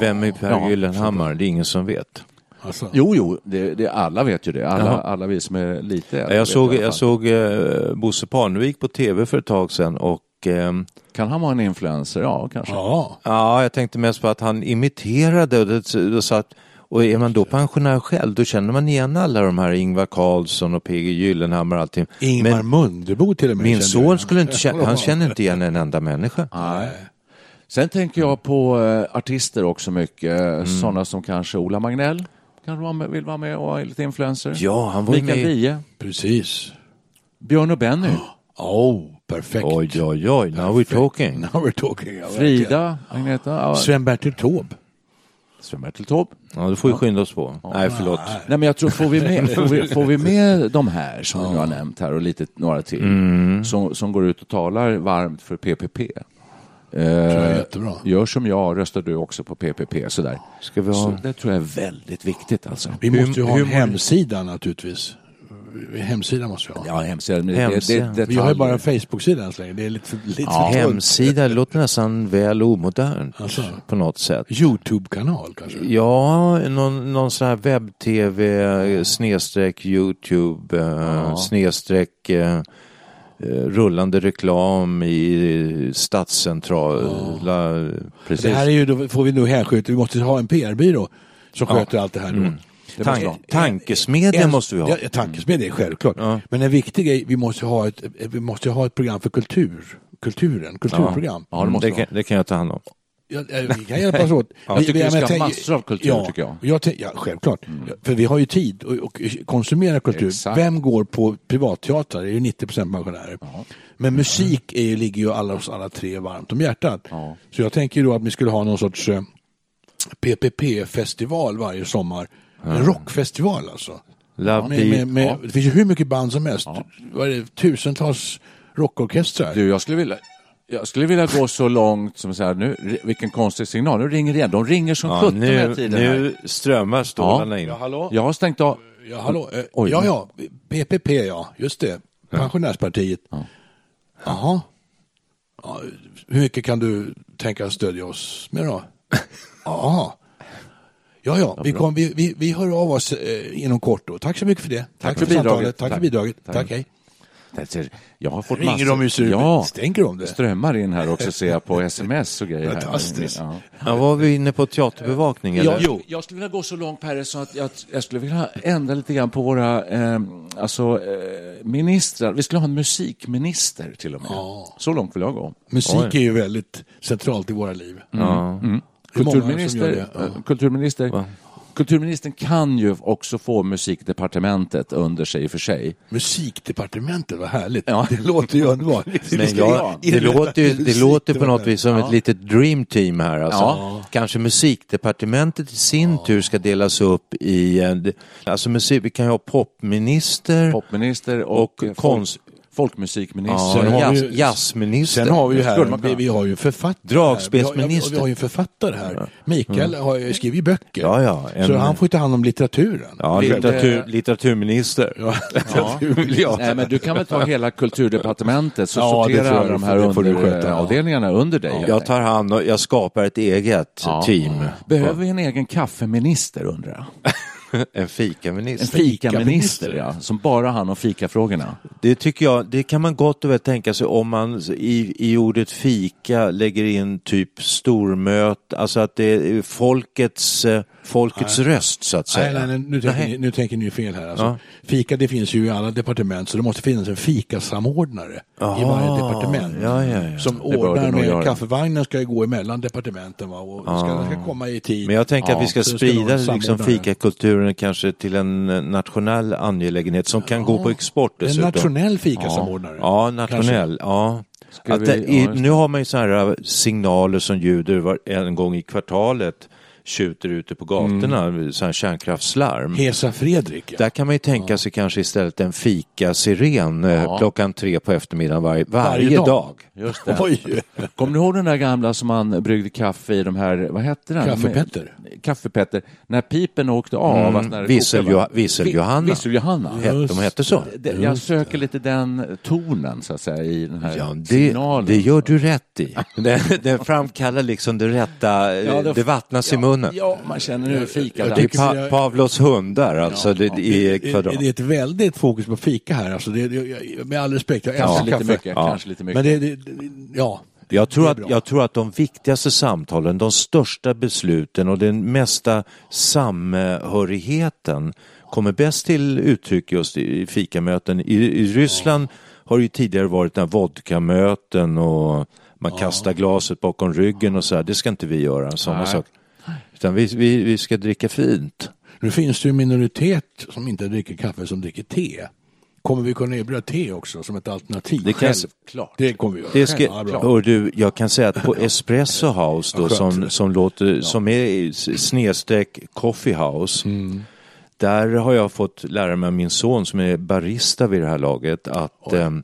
S2: Vem är Per
S1: Ja,
S2: Gyllenhammar? Det är ingen som vet.
S3: Alltså.
S1: Jo, jo, det, det, alla vet ju det. Alla,
S2: Jaha.
S1: alla vi som är lite äldre
S2: Jag
S1: vet
S2: såg,
S1: i alla
S2: jag
S1: fall.
S2: såg eh, Bosse Parnevik på tv för ett tag sedan och ehm,
S1: Kan han vara en influencer? Ja, kanske.
S3: Ja.
S2: Ja, jag tänkte mest på att han imiterade och, det, och, så att, och är man då pensionär själv då känner man igen alla de här Ingvar Carlsson och PG Gyllenhammar och allting.
S3: Ingmar
S2: Men
S3: Mundebo till och med.
S2: min
S3: kände
S2: son
S3: jag.
S2: skulle inte känna, han känner inte igen en enda människa.
S1: Sen tänker jag på eh, artister också mycket. Mm. Sådana som kanske Ola Magnell kanske var med, vill vara med och är lite influencer.
S2: Ja, han var ju
S1: Mikael
S2: med i-
S1: Wiehe,
S3: Precis.
S1: Björn och Benny,
S3: Oh, perfekt.
S2: Oj, oj, oj, now we're talking.
S3: Now we're talking. Ja, verkligen.
S1: Frida, Agneta, ja,
S3: Sven-Bertil Taube.
S1: Sven-Bertil Taube.
S2: Ja, då får vi skynda oss på. Nej, förlåt.
S3: Äh,
S1: Nej, men jag tror, får vi med, får vi, får vi med de här som jag har nämnt här och lite några till som, som går ut och talar varmt för PPP.
S3: Det är
S1: Eh,
S3: jättebra.
S1: gör som jag, röstar du också på PPP. Sådär.
S2: Ska vi ha...
S1: Så det tror jag är väldigt viktigt. Alltså.
S3: Vi måste ju ha
S2: hur
S3: en
S2: mår-
S3: hemsida naturligtvis. Eh, Hemsida måste vi ha.
S1: Ja, hemsidan. men det- Det,
S2: Hemsidan.
S1: det,
S3: Vi har ju
S1: detaljer.
S3: bara en Facebook-sida än så länge. Det är lite för, lite
S2: Ja,
S3: för
S2: hemsida, det låter nästan väl omodernt
S3: Alltså.
S2: på något sätt.
S3: Youtube-kanal kanske.
S2: Ja, någon, någon sån här webb-tv eh, snedstreck Youtube eh, snedstreck eh, eh, rullande reklam i stadscentrala. Precis.
S3: Det här är ju, då får vi nog hänskjuta, vi måste ha en PR-byrå som sköter allt det här då.
S2: Tan- Eh, tankesmedjan måste vi ha.
S3: Ja, tankesmedjan är självklart.
S2: Ja.
S3: Men en viktig grej, vi måste ha ett, vi måste ha ett program för kultur. kulturen, kulturprogram.
S1: Ja, det måste
S2: Mm, det, kan, det kan jag ta hand om.
S3: Ja, eh, vi kan hjälpas åt.
S1: Jag tycker
S3: men
S1: vi ska ha
S3: tänker-
S1: massor av kultur,
S3: ja,
S1: tycker jag. Mm.
S3: tän- ja, självklart. Ja, För vi har ju tid att och konsumera kultur.
S1: Exakt.
S3: Vem går på privatteater? Det är ju 90 procent pensionärer. Men musik är, ju- ligger ju alla oss alla tre varmt om hjärtat.
S1: Ja.
S3: Så jag tänker ju då att vi skulle ha någon sorts eh, PPP-festival varje sommar. En rockfestival alltså.
S2: Love
S3: Med, med, med,
S1: ja.
S3: Det finns ju hur mycket band som helst. Vad är det, tusentals rockorkestrar.
S1: Du, jag skulle vilja... Jag skulle vilja gå så långt som så här, nu, vilken konstig signal, nu ringer det igen. De ringer som
S2: Ja,
S1: sjutton den här
S2: nu,
S1: tiden. här.
S2: nu strömmar stålarna in.
S3: Ja, hallå?
S1: Jag har stängt av.
S3: Ja, hallå. eh,
S1: Oj.
S3: Ja, ja. PPP, ja. Just det. Pensionärspartiet. Jaha. Ja, hur mycket kan du tänka stödja oss med då? Jaha. Ja, ja. Vi, kom, vi, vi, vi hör av oss eh, inom kort då. Tack så mycket för det. Tack,
S1: för bidraget.
S3: samtalet. Tack,
S1: Tack.
S3: för bidraget.
S1: Tack.
S3: Tack, hej.
S1: Det är- Jag har fått
S3: Ringer de i sur-
S1: Ja,
S3: Stänker de det?
S1: strömmar in här också ser jag på sms och grejer. här.
S3: Fantastiskt.
S1: Ja.
S2: Ja, var vi inne på teaterbevakning eller?
S3: Ja, jo.
S1: Jag skulle vilja gå så långt Perre, så att jag, jag skulle vilja ändra lite grann på våra eh, alltså, eh, ministrar. Vi skulle ha en musikminister till och med. Så långt vill jag gå.
S3: Musik är ju väldigt centralt i våra liv. Mm.
S2: Ja.
S3: Det är många som
S1: Kulturminister,
S3: gör det, ja.
S1: eh, kulturminister, kulturministern kan ju också få musikdepartementet under sig i och för sig.
S3: Musikdepartementet, vad härligt.
S1: Ja.
S3: Det låter ju underbart.
S2: Men jag, det, låter, ju- det låter på något vis som ett litet dream team här. Alltså.
S1: Ja.
S2: Kanske musikdepartementet i sin tur ska delas upp i... en- Alltså musik, vi kan ju ha popminister.
S1: Popminister och,
S2: Och
S1: eh,
S2: konst-
S1: folk, folkmusikminister.
S2: Ja,
S3: Sen har vi
S2: jazz,
S3: ju-
S2: jazzminister.
S3: Sen har vi ju
S1: Skulle man
S3: här,
S1: kunna.
S3: vi, vi har ju författare.
S2: Dragspelsminister.
S3: Vi har, vi har ju en författare här. Mikael har ju skrivit böcker.
S2: Mm. Ja, ja, en-
S3: Så han får ju ta hand om litteraturen.
S2: Ja, litteratur, litteraturminister. Ja.
S1: Nej, men du kan väl ta hela kulturdepartementet så
S3: Ja, det
S1: sortera
S3: tror jag
S1: alla de
S3: du
S1: här
S3: får- det får du sköta, ja.
S1: underavdelningarna under dig. helt
S2: Jag tar hand och jag skapar ett eget
S1: Ja.
S2: team.
S1: Behöver vi en egen kaffeminister undrar jag?
S2: En fikaminister.
S1: En fikaminister ja, som bara har hand om fikafrågorna.
S2: Det tycker jag, det kan man gott och väl tänka sig om man i, i ordet fika lägger in typ stormöte, alltså att det är folkets, eh, folkets röst så att säga.
S3: Nej, nej, nej, nu, tänker ni, nu tänker ni fel här. Alltså,
S2: Ja.
S3: Fika det finns ju i alla departement så det måste finnas en fikasamordnare i varje departement.
S2: Ja, ja, ja.
S3: Som
S1: det bör det
S3: ordnar
S1: nog
S3: med
S1: göra.
S3: kaffevagnen ska ju gå emellan departementen va? och den ska, den ska komma i tid.
S2: Men jag tänker att vi ska
S3: så det ska
S2: sprida
S3: nog en
S2: liksom
S3: samordnare.
S2: fikakulturen kanske till en eh, nationell angelägenhet som kan gå på export
S3: en
S2: dessutom.
S3: nationell fikasamordnare.
S2: Ja, nationell. Ja.
S1: Ska
S2: Att
S1: vi-
S2: det, i,
S1: ja, just
S2: nu har man ju så här eh, signaler som ljuder var, en gång i kvartalet tjuter ute på gatorna,
S3: Mm.
S2: så här kärnkraftslarm.
S3: Hesa Fredrik. Ja.
S2: Där kan man ju tänka sig kanske istället en fika-siren eh, klockan tre på eftermiddagen varje, varje,
S3: Varje dag.
S2: dag.
S1: Just det.
S3: Oj!
S1: Kommer du ihåg den där gamla som man bryggde kaffe i de här, vad hette den?
S3: Kaffepetter.
S1: Kaffepetter. När pipen åkte av.
S2: Mm,
S1: alltså när det
S2: Vissel-
S1: kokade, va?
S2: Visseljohanna.
S1: Vi- Visseljohanna.
S2: Hette- De hette så.
S1: Det- Jag söker lite den tonen så att säga i den här
S2: Ja, det,
S1: signalen.
S2: det gör du rätt i. Den, den framkallar liksom det rätta, eh,
S1: Ja,
S2: det, vattnas i munnen.
S1: Ja, man känner nu fika.
S3: jag
S1: där.
S2: Det är
S3: tycker
S2: pa,
S3: vi-
S2: Pavlos hundar alltså, det, i kvadrat.
S3: Det, det är ett väldigt fokus på fika här. Alltså det, det, jag- med all respekt, jag älskar
S1: Kanske lite
S3: kaffe.
S1: mycket.
S3: Ja.
S1: Kanske lite mycket.
S3: Men det, det, det ja.
S2: Jag
S3: Det
S2: tror,
S3: är
S2: att,
S3: bra.
S2: jag tror att de viktigaste samtalen, de största besluten och den mesta samhörigheten kommer bäst till uttryck just i i fikamöten. I, i Ryssland har det ju tidigare varit den här vodkamöten och man kastar glaset bakom ryggen och så här. Det ska inte vi göra, sådana
S1: Nej.
S2: saker. Utan vi, vi, vi ska dricka fint.
S3: Nu finns det ju en minoritet som inte dricker kaffe som dricker te. Kommer vi kunna erbjuda te också som ett alternativ?
S2: Det kan-
S3: Självklart. Det kommer vi göra.
S2: Det ska,
S3: Ja, bra.
S2: och du, jag kan säga att på Espresso House då,
S3: skönt.
S2: som, som, låter, som är i s- snedstreck Coffee House,
S3: Mm.
S2: där har jag fått lära mig av min son som är barista vid det här laget att ehm,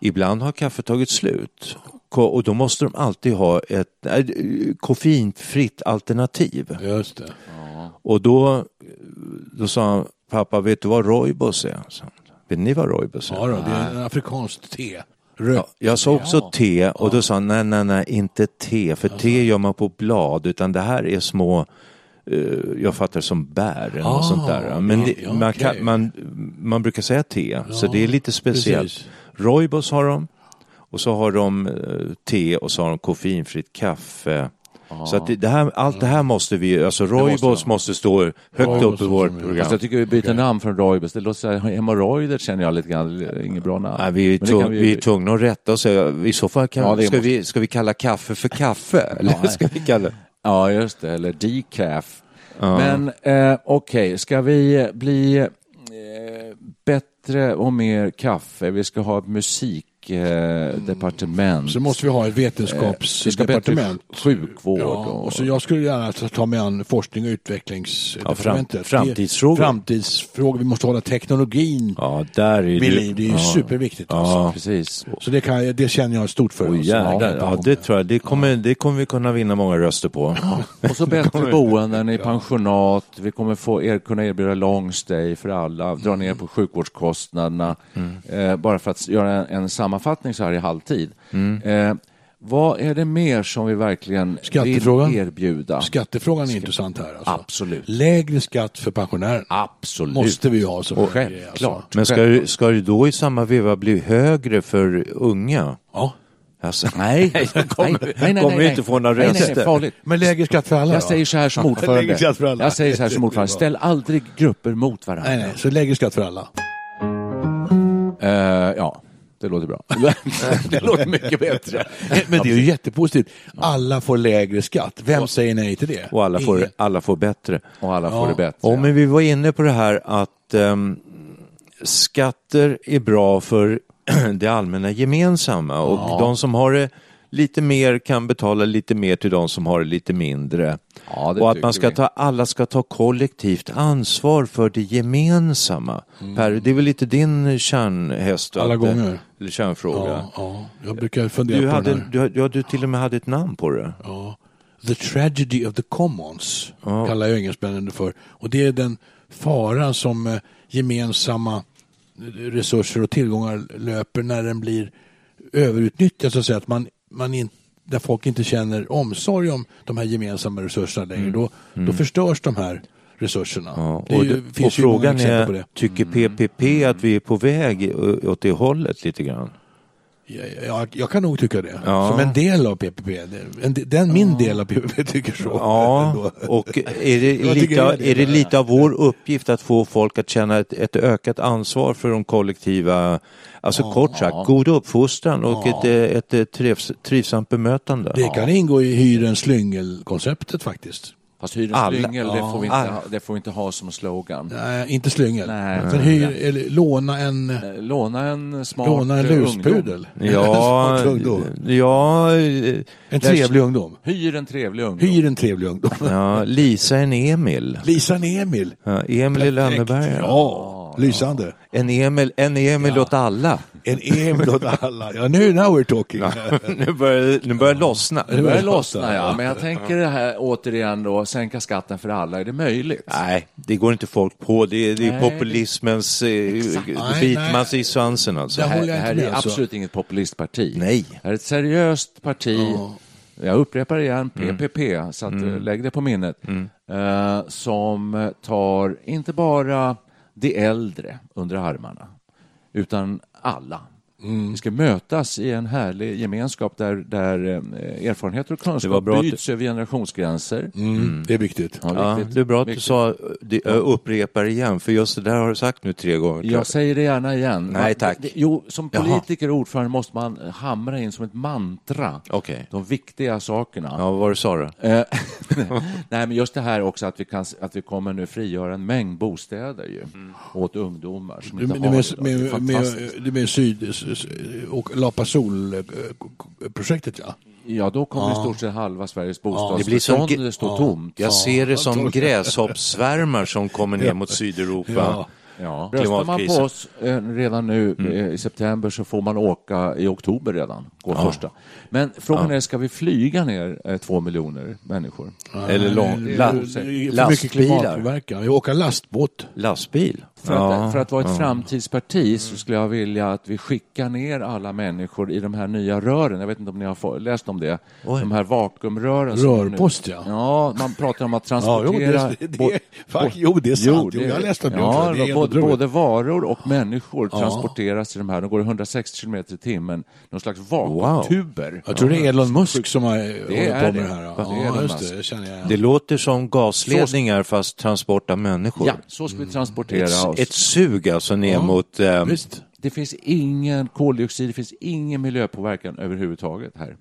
S2: ibland har kaffet tagit slut Ko- och då måste de alltid ha ett äh, koffeinfritt alternativ.
S3: Just det.
S2: Och då, då sa han, pappa vet du vad rooibos är? Så, Vet ni vad rooibos är?
S3: Ja, då, det är en afrikanskt te. Rött.
S2: Ja, jag sa också te och då sa han nej, nej, nej, inte te, för te gör man på blad, utan det här är små, eh, jag fattar som bär eller något sånt där. Men
S3: ja,
S2: det,
S3: ja,
S2: man,
S3: okej.
S2: kan, man, man brukar säga te, så det är lite speciellt.
S3: precis.
S2: Roibos har de, och så har de eh, te och så har de koffeinfritt kaffe. Så att det, det här, allt det här måste vi, alltså Roybos måste stå högt upp i vårt program.
S1: Fast Alltså, jag tycker vi byter namn från Roibus. Det låter så här, hemorrojder känner jag lite grann, Det är inget bra namn.
S2: Nej, vi, är
S1: Men det kan
S2: tvung, vi... är tvungna att rätta oss. I så fall kan,
S1: Ja, det
S2: ska,
S1: måste-
S2: vi, ska vi kalla kaffe för kaffe? Eller
S1: nej.
S2: ska vi kalla...
S1: Ja, just det, eller decaf. Men eh, okej, ska vi bli eh, bättre och mer kaffe? Vi ska ha ett musikdepartement. Eh, departement.
S3: Mm. Så måste vi ha ett
S1: vi ska ha bättre
S2: Eh,
S3: vetenskapsdepartement.
S1: sjukvård.
S3: Ja,
S1: och,
S3: och så jag skulle gärna ta ta mig an forskning och utvecklingsdepartementet.
S2: Ja, fram- framtidsfrågor.
S3: Det är Framtidsfrågor. Vi måste hålla teknologin
S2: Ja, där är
S3: vid liv. Det är ju superviktigt. Alltså.
S1: Precis.
S3: Så det, kan, jag- det känner jag stort för.
S2: Oj,
S3: alltså.
S2: jävlar. Ja, det tror jag. Det kommer, det kommer vi kunna vinna många röster på.
S1: Och så bättre boenden i pensionat. Vi kommer få er, kunna erbjuda long stay för alla, dra
S3: Mm.
S1: ner på sjukvårdskostnaderna. Eh, bara för att göra en, en sammanfattning så här i halvtid.
S3: Mm.
S1: Eh, vad är det mer som vi verkligen vill
S3: Skattefrågan.
S1: erbjuda?
S3: Skattefrågan är intressant här. Alltså.
S1: Absolut.
S3: Lägre skatt för pensionärer
S1: Absolut.
S3: måste vi ha. Som
S1: Och
S3: en grej, alltså.
S1: självklart.
S2: Men ska, du- ska du då i samma veva bli högre för unga?
S3: Ja.
S2: Alltså,
S1: Nej, nej,
S2: kommer- kommer vi inte få några
S1: Nej, nej,
S2: röster.
S1: nej, farligt.
S3: Men lägre skatt för alla
S1: Jag
S3: då?
S1: säger så här som ordförande.
S3: Lägre skatt för alla.
S1: Jag säger så här som ordförande. Ställ aldrig grupper mot varandra.
S3: Nej, nej, så lägre skatt för alla.
S1: Eh, ja, det låter bra. det låter mycket bättre.
S3: Men det är ju jättepositivt. Alla får lägre skatt. Vem säger nej till det?
S2: Och alla får,
S3: Ingen.
S2: alla får bättre.
S1: Och alla får det bättre.
S2: Och men vi var inne på det här att ehm, skatter är bra för det allmänna gemensamma och de som har det lite mer kan betala lite mer till de som har det lite mindre.
S1: Ja, det
S2: och att
S1: tycker
S2: man ska
S1: vi.
S2: ta, alla ska ta kollektivt ansvar för det gemensamma. Per, det är väl lite din kärnhäst?
S3: Mm. Alla
S2: att, eh,
S3: gånger.
S2: Eller kärnfråga.
S3: Ja, ja. Jag brukar fundera
S2: Du,
S3: på
S2: hade,
S3: den här.
S2: du, ja, du till och med hade ett namn på det.
S3: The tragedy of the commons kallar ju engelsmännen det för. Och det är den fara som eh, gemensamma eh, resurser och tillgångar löper när den blir överutnyttjad så att säga. Att man, man in, där folk inte känner omsorg om de här gemensamma resurserna längre. Då, då förstörs de här resurserna.
S2: Mm. Ja,
S3: det är
S2: och,
S3: ju,
S2: det, och
S3: finns ju många
S2: frågan
S3: exempel på det.
S2: är, tycker PPP att vi är på väg i- åt det hållet lite grann?
S3: Ja, ja, Jag, jag kan nog tycka det.
S2: Ja.
S3: Som en del av PPP. Det- En, de- den, min del av PPP tycker så.
S2: Ja,
S3: Ändå.
S2: och är det,
S3: Jag tycker
S2: lite,
S3: det
S2: av-
S3: är det.
S2: är det lite av vår uppgift att få folk att känna ett, ett ökat ansvar för de kollektiva, alltså kort sagt, god uppfostran och ett, eh, ett, eh, trivs, trivsamt bemötande?
S3: Det kan ingå i hyrens slyngel-konceptet faktiskt.
S1: Fast hyrens
S2: Alla.
S1: slyngel, det, får vi inte
S2: Alla.
S1: ha, det får vi inte ha som slogan.
S3: Nej, inte slyngel.
S1: Nej.
S3: Men hyr, eller, låna en,
S1: Eh, Låna en smart eh,
S3: låna en
S1: ungdom.
S3: luspudel.
S2: Ja,
S3: En smart ungdom.
S2: ja, eh,
S3: En trevlig ungdom.
S1: Hyr en trevlig ungdom.
S3: Hyr en trevlig ungdom.
S2: ja, Lisa en Emil.
S3: Lisa Emil.
S2: Ja, Emil i Lönneberga.
S3: Ja, lysande.
S2: En Emil, en Emil åt alla.
S3: En Emil åt alla. Ja, nu now we're talking.
S2: nu börjar nu börjar det lossna.
S1: Det börjar lossna, ja. Men jag tänker det här återigen då, sänka skatten för alla, är det möjligt?
S2: Nej, det går inte folk på. Det är, det är
S1: Nej,
S2: populismens eh,
S3: Nej,
S2: bit
S3: nej.
S2: man sig i svansen alltså.
S3: Det
S1: Det här,
S3: håller
S1: det
S3: jag
S1: här
S3: inte
S1: är
S3: med, alltså.
S1: absolut inget populistparti.
S2: Nej.
S1: Det här är ett seriöst parti. Jag upprepar igen,
S2: Mm.
S1: PPP, så att, eh, lägg det på minnet. Eh, som tar inte bara de äldre under armarna, utan alla.
S2: Mm.
S1: Vi ska mötas i en härlig gemenskap där, där eh, erfarenheter och
S2: Det var
S1: kunskap
S2: bra att-
S1: byts över generationsgränser.
S3: Mm, det är viktigt.
S2: Ja,
S1: viktigt.
S2: det är bra att du sa, det, jag upprepar igen, för just det där har du sagt nu tre gånger.
S1: Jag säger det gärna igen.
S2: Nej, tack.
S1: Det- Jo, som
S2: Jaha.
S1: politiker och ordförande måste man hamra in som ett mantra
S2: Okej.
S1: de viktiga sakerna.
S2: Ja, vad var det du sa då?
S1: Eh, Nej, men just det här också att vi, kan, att vi kommer nu frigöra en mängd bostäder ju,
S2: Mm.
S1: åt ungdomar som
S3: Du
S1: inte
S3: men-
S1: har
S3: du
S1: det.
S3: med,
S1: idag. Det är
S3: med,
S1: fantastiskt.
S3: med, du med syd s- s- och Lapa eh, Sol-projektet ja.
S1: Ja, då kommer i stort sett halva Sveriges
S2: Det blir som
S1: bostadsbestånd
S2: ge-
S1: stå tomt.
S2: Jag ser det som gräshoppsvärmar som kommer ner mot Sydeuropa.
S3: Ja.
S1: Ja. Röstar man på
S2: Klimatkrisen. Mm.
S1: oss eh, redan nu eh, i september så får man åka i oktober redan, går första. Men frågan är, ska vi flyga ner eh, två miljoner människor?
S2: Eller lång,
S3: Det är
S2: la,
S3: för mycket
S2: lastbilar.
S3: klimatpåverkan. Vi åker lastbåt.
S2: Lastbil?
S1: För,
S2: Ja,
S1: att, för att vara ett
S2: ja.
S1: framtidsparti så skulle jag vilja att vi skickar ner alla människor i de här nya rören. Jag vet inte om ni har få- läst om det?
S2: Oj.
S1: De här vakuumrören. som
S3: Rörpost,
S1: nu-
S3: ja.
S1: Ja, man pratar om att
S3: Ja, jo,
S1: transportera...
S3: det, det, det, fuck, jo, det är sant. Jo, jag läste om det också.
S1: ja,
S3: Det är helt
S1: både,
S3: otroligt.
S1: både varor och människor
S3: Ja.
S1: transporteras i de här. De går 160 kilometer i timmen. Någon slags vakuumtuber.
S3: Jag tror det är Elon Musk som har
S1: är
S3: hållit på
S1: det.
S3: med det här. Ja,
S1: Det är Elon
S3: just det.
S1: Musk.
S3: det känner jag.
S2: Det låter som gasledningar fast transport av människor.
S1: Ja, så
S3: Mm.
S1: ska vi transportera
S2: Ett,
S1: oss.
S2: ett sug alltså ner mot... Eh,
S3: Visst.
S1: Det finns ingen koldioxid, det finns ingen miljöpåverkan överhuvudtaget här.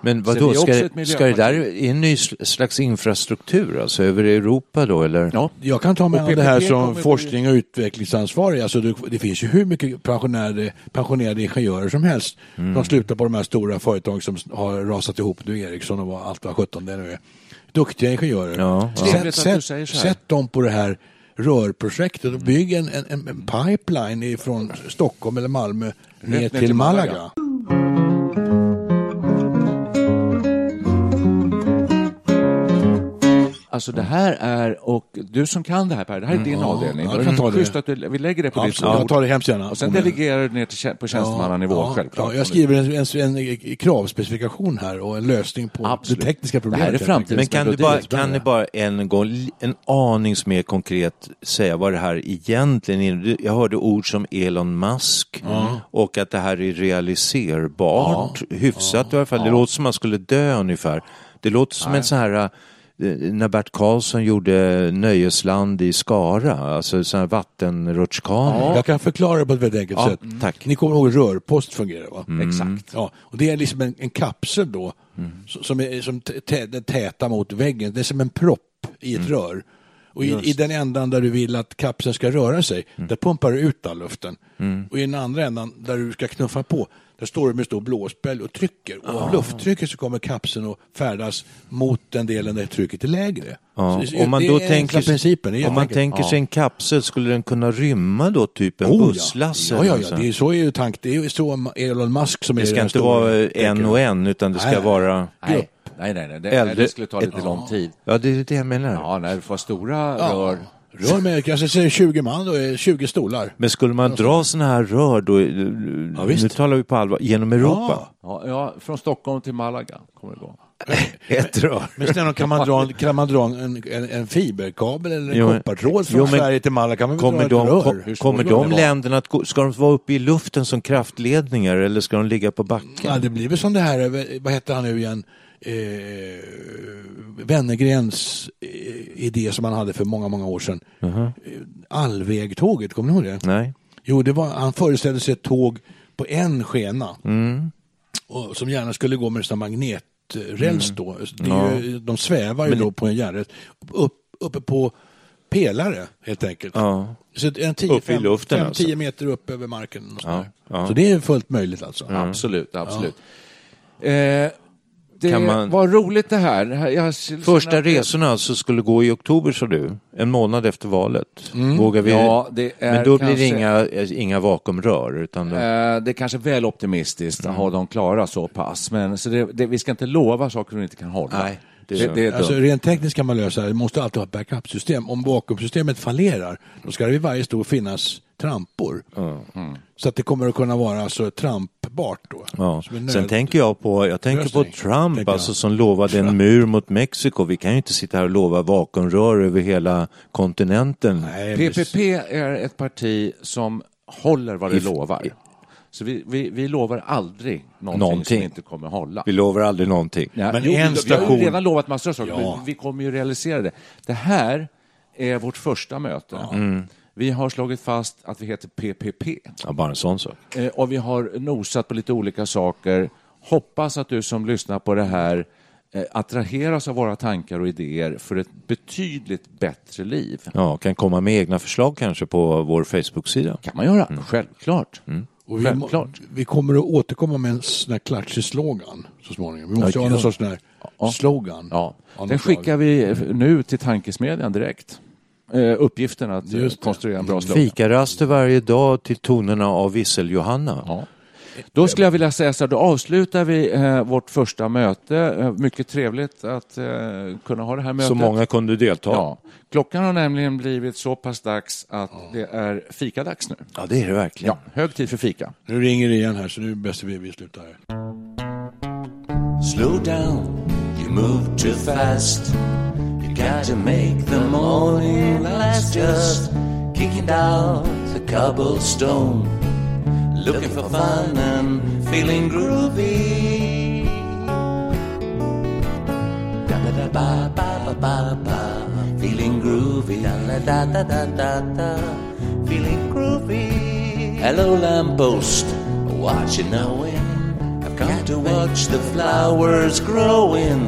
S2: men
S1: Så vi
S2: vadå,
S1: är
S2: ska,
S1: också
S2: det-
S1: ett
S2: ska det där i en ny sl- slags infrastruktur alltså över Europa då eller?
S1: Ja.
S3: Jag kan ta med
S1: Och
S3: det här
S1: PPP
S3: som
S1: kommer bli-
S3: forskning och utvecklingsansvarig. Alltså det, det finns ju hur mycket pensionerade, pensionerade ingenjörer som helst.
S1: Mm.
S3: De slutar på de här stora företag som har rasat ihop nu, Ericsson och vad- allt vad sjutton det nu är. Duktiga ingenjörer.
S2: Ja, ja.
S3: Sätt,
S1: Trevligt att du
S3: sätt,
S1: säger så här.
S3: sätt dem på det här rörprojektet och bygg en, en, en, en pipeline från Stockholm eller Malmö ner,
S1: ner
S3: till,
S1: till
S3: Malaga.
S1: Malaga. Alltså det här är, och du som kan det här Per, det här är din avdelning.
S3: Mm. ja, jag kan ta det.
S1: Schysst att du, vi lägger det på ditt
S3: Absolut, jag tar det hemskt gärna.
S1: Och sen delegerar du ner till, tjä- på tjänstemannanivå självklart.
S3: Ja, jag skriver en, en, en kravspecifikation här och en lösning på
S1: Absolut.
S3: det
S1: Det
S3: tekniska
S1: här
S3: problemet.
S1: är
S3: helt
S1: framtiden.
S3: enkelt.
S2: Men kan du, bara,
S3: Jättebra.
S2: kan du bara en gång, li- en anings mer konkret säga vad det här egentligen är? Du- Jag hörde ord som Elon Musk och att det här är realiserbart, hyfsat i alla fall. Det låter som man skulle dö ungefär. Det låter som en sån här, eh, när Bert Karlsson gjorde Nöjesland i Skara, alltså sån här vattenrutschkana.
S3: Jag kan förklara det på ett väldigt enkelt
S2: Ja, Mm.
S3: sätt.
S2: tack. Mm.
S3: Ni kommer ihåg hur rörpost fungerar va?
S1: Exakt.
S3: Ja, och det är liksom en, en kapsel då s- som är som t- tä- den täta mot väggen. Det är som en propp i
S2: Mm.
S3: ett rör. Och i, i den ändan där du vill att kapseln ska röra sig,
S2: Mm.
S3: där pumpar du ut all luften. Och i den andra ändan där du ska knuffa på, där står du med stor blåspäll och trycker. Och
S2: Ah.
S3: av lufttrycket så kommer kapseln att färdas mot den delen där trycket är lägre.
S2: Ja,
S3: Så det-
S2: om man
S3: det
S2: då
S3: är enkla
S2: tänker,
S3: principen. Det är
S2: om man
S3: jätteenkelt.
S2: tänker sig en kapsel, skulle den kunna rymma då typ en
S3: Oh,
S2: busslast?
S3: Ja,
S2: eller
S3: ja,
S2: något
S3: ja.
S2: sånt?
S3: Det är, så är ju tanken. Det är ju så Elon Musk som är
S2: alltså. Det ska
S3: den
S2: inte
S3: stora.
S2: vara eh, en och en utan det ska
S3: Nej.
S2: vara...
S1: Nej, nej, nej, nej. Det,
S2: Äldre-
S1: det skulle ta lite
S2: ett-
S1: lång tid.
S2: Ja, det är det jag menar.
S1: Ja, när du får stora
S3: Ja.
S1: rör.
S3: Rör med kanske säger 20 man då, är 20 stolar.
S2: Men skulle man dra sådana här rör då, eh, nu
S3: visst.
S2: talar vi på allvar, genom Europa?
S1: Ja, ja, från Stockholm till Malaga kommer
S3: Mm.
S1: det gå.
S2: Ett rör.
S3: Men snälla, kan man dra, en- kan man dra en, en, en fiberkabel eller en
S2: Jo, men-
S3: koppartråd från
S2: jo, men-
S3: Sverige till Malaga? Kan man väl
S2: Kommer
S3: dra
S2: de,
S3: ett
S2: kom-
S3: rör? Hur
S2: kommer
S3: svårt kan
S2: de
S3: det vara?
S2: länderna att gå, ska de vara uppe i luften som kraftledningar eller ska de ligga på backen?
S3: Ja, det blir väl som det här, eh, vad hette han nu igen, eh, Wennergrens eh, idé som han hade för många, många år sedan. Eh, Allvägtåget, kommer ni ihåg det?
S2: Nej.
S3: Jo, det var, han föreställde sig ett tåg på en skena
S2: Mm.
S3: och, som gärna skulle gå med sådana
S2: Mm.
S3: magneträls. Då. Det är ju, de svävar ju då på en järnräls upp, uppe på pelare helt enkelt.
S2: Ja.
S3: Så en 10,
S2: Uppe i
S3: fem-
S2: luften,
S3: fem,
S2: alltså.
S3: 10 meter upp över marken. Och sådär.
S2: ja.
S3: Så det är fullt möjligt alltså.
S1: Absolut, absolut. Eh, det
S2: Kan man-
S1: var roligt det här. Det här- Jag...
S2: Första resorna alltså skulle gå i oktober sa du, en månad efter valet.
S3: Mm.
S2: Vågar vi?
S1: Ja, det är
S2: Men då blir det
S1: kanske-
S2: inga, eh, inga vakuumrör utan...
S1: Eh, det är kanske väl optimistiskt att ha dem klara så pass. Men, så det, det, vi ska inte lova saker vi inte kan hålla.
S2: Nej, det
S1: det,
S2: är
S1: det,
S2: så.
S1: är
S3: Alltså,
S1: dumt.
S3: rent tekniskt kan man lösa det. Vi måste alltid ha ett backup-system. Om vakuumsystemet fallerar, då ska det vid varje stol finnas trampor. Så att det kommer att kunna vara alltså, trampbart då.
S2: Ja.
S3: Som en nöd-
S2: Sen tänker jag på, jag tänker på
S3: lösning,
S2: Trump
S3: tänker jag.
S2: alltså, som lovade en mur mot Mexiko. Vi kan ju inte sitta här och lova vakuumrör över hela kontinenten.
S3: Nej, precis.
S1: PPP är ett parti som håller vad det
S2: If-
S1: lovar. Så vi, vi, vi lovar aldrig någonting,
S2: Någonting.
S1: som inte kommer hålla.
S2: Vi lovar aldrig någonting.
S1: Ja,
S3: Men
S1: jo,
S3: en
S1: Vi har
S3: station-
S1: ju redan lovat massor av saker,
S3: Ja.
S1: men vi kommer ju realisera det. Det här är vårt första möte. Vi har slagit fast att vi heter PPP.
S2: Ja, bara en sån sak.
S1: Eh, och vi har nosat på lite olika saker. Hoppas att du som lyssnar på det här eh, attraheras av våra tankar och idéer för ett betydligt bättre liv.
S2: Ja, kan komma med egna förslag kanske på vår Facebook-sida.
S1: kan man göra, självklart.
S3: Och vi, må,
S1: Självklart.
S3: vi kommer att återkomma med en sån här klatschig slogan så småningom. Vi måste
S2: Ja,
S3: ha någon
S2: ja.
S3: sorts sån här slogan.
S1: Ja.
S3: av något
S1: Den skickar
S3: slag.
S1: vi eh, nu till tankesmedjan direkt. Eh, uppgiften att eh,
S3: Just det.
S1: konstruera en bra slogan.
S2: Fikaraster varje dag till tonerna av Vissel-Johanna.
S1: Ja. Då skulle jag vilja säga så här, då avslutar vi eh, vårt första möte. Eh, Mycket trevligt att eh, kunna ha det här mötet.
S5: Så många kunde delta.
S1: Ja. Klockan har nämligen blivit så pass dags att det är fikadags nu.
S5: Ja, det är det verkligen.
S1: Ja, hög tid för fika.
S3: Nu ringer det igen här, så nu är det bäst vi, vi slutar här.
S2: Slow down, you move too fast. You got to make the morning last. Just kicking down the cobblestone, looking for fun and feeling groovy. Da ba da ba ba ba ba ba, feeling groovy. Da la da da da da da, feeling groovy. Hello lamppost, watching the wind. I've come to watch the flowers growing.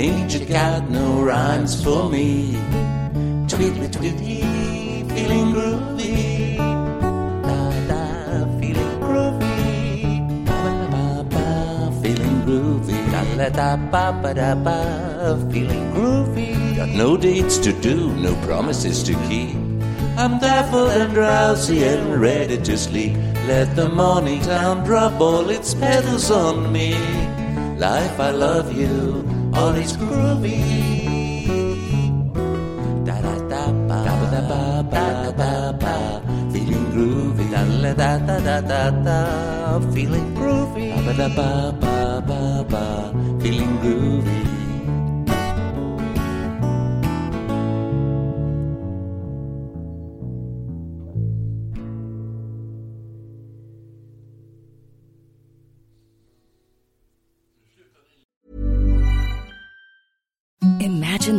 S2: Ain't you got no rhymes for me? Tweety tweety, feeling groovy. Da da, feeling groovy. Ba ba ba ba, feeling groovy. Da la da ba ba da ba, feeling groovy. Got no dates to do, no promises to keep. I'm baffled and drowsy and ready to sleep. Let the morning town drop all its petals on me. Life, I love you, all is groovy. Da da da ba ba da ba ba da ba ba. Feeling groovy. Da la da da da da da. Feeling groovy. Ba ba da ba ba ba ba. Feeling groovy.
S6: Imagine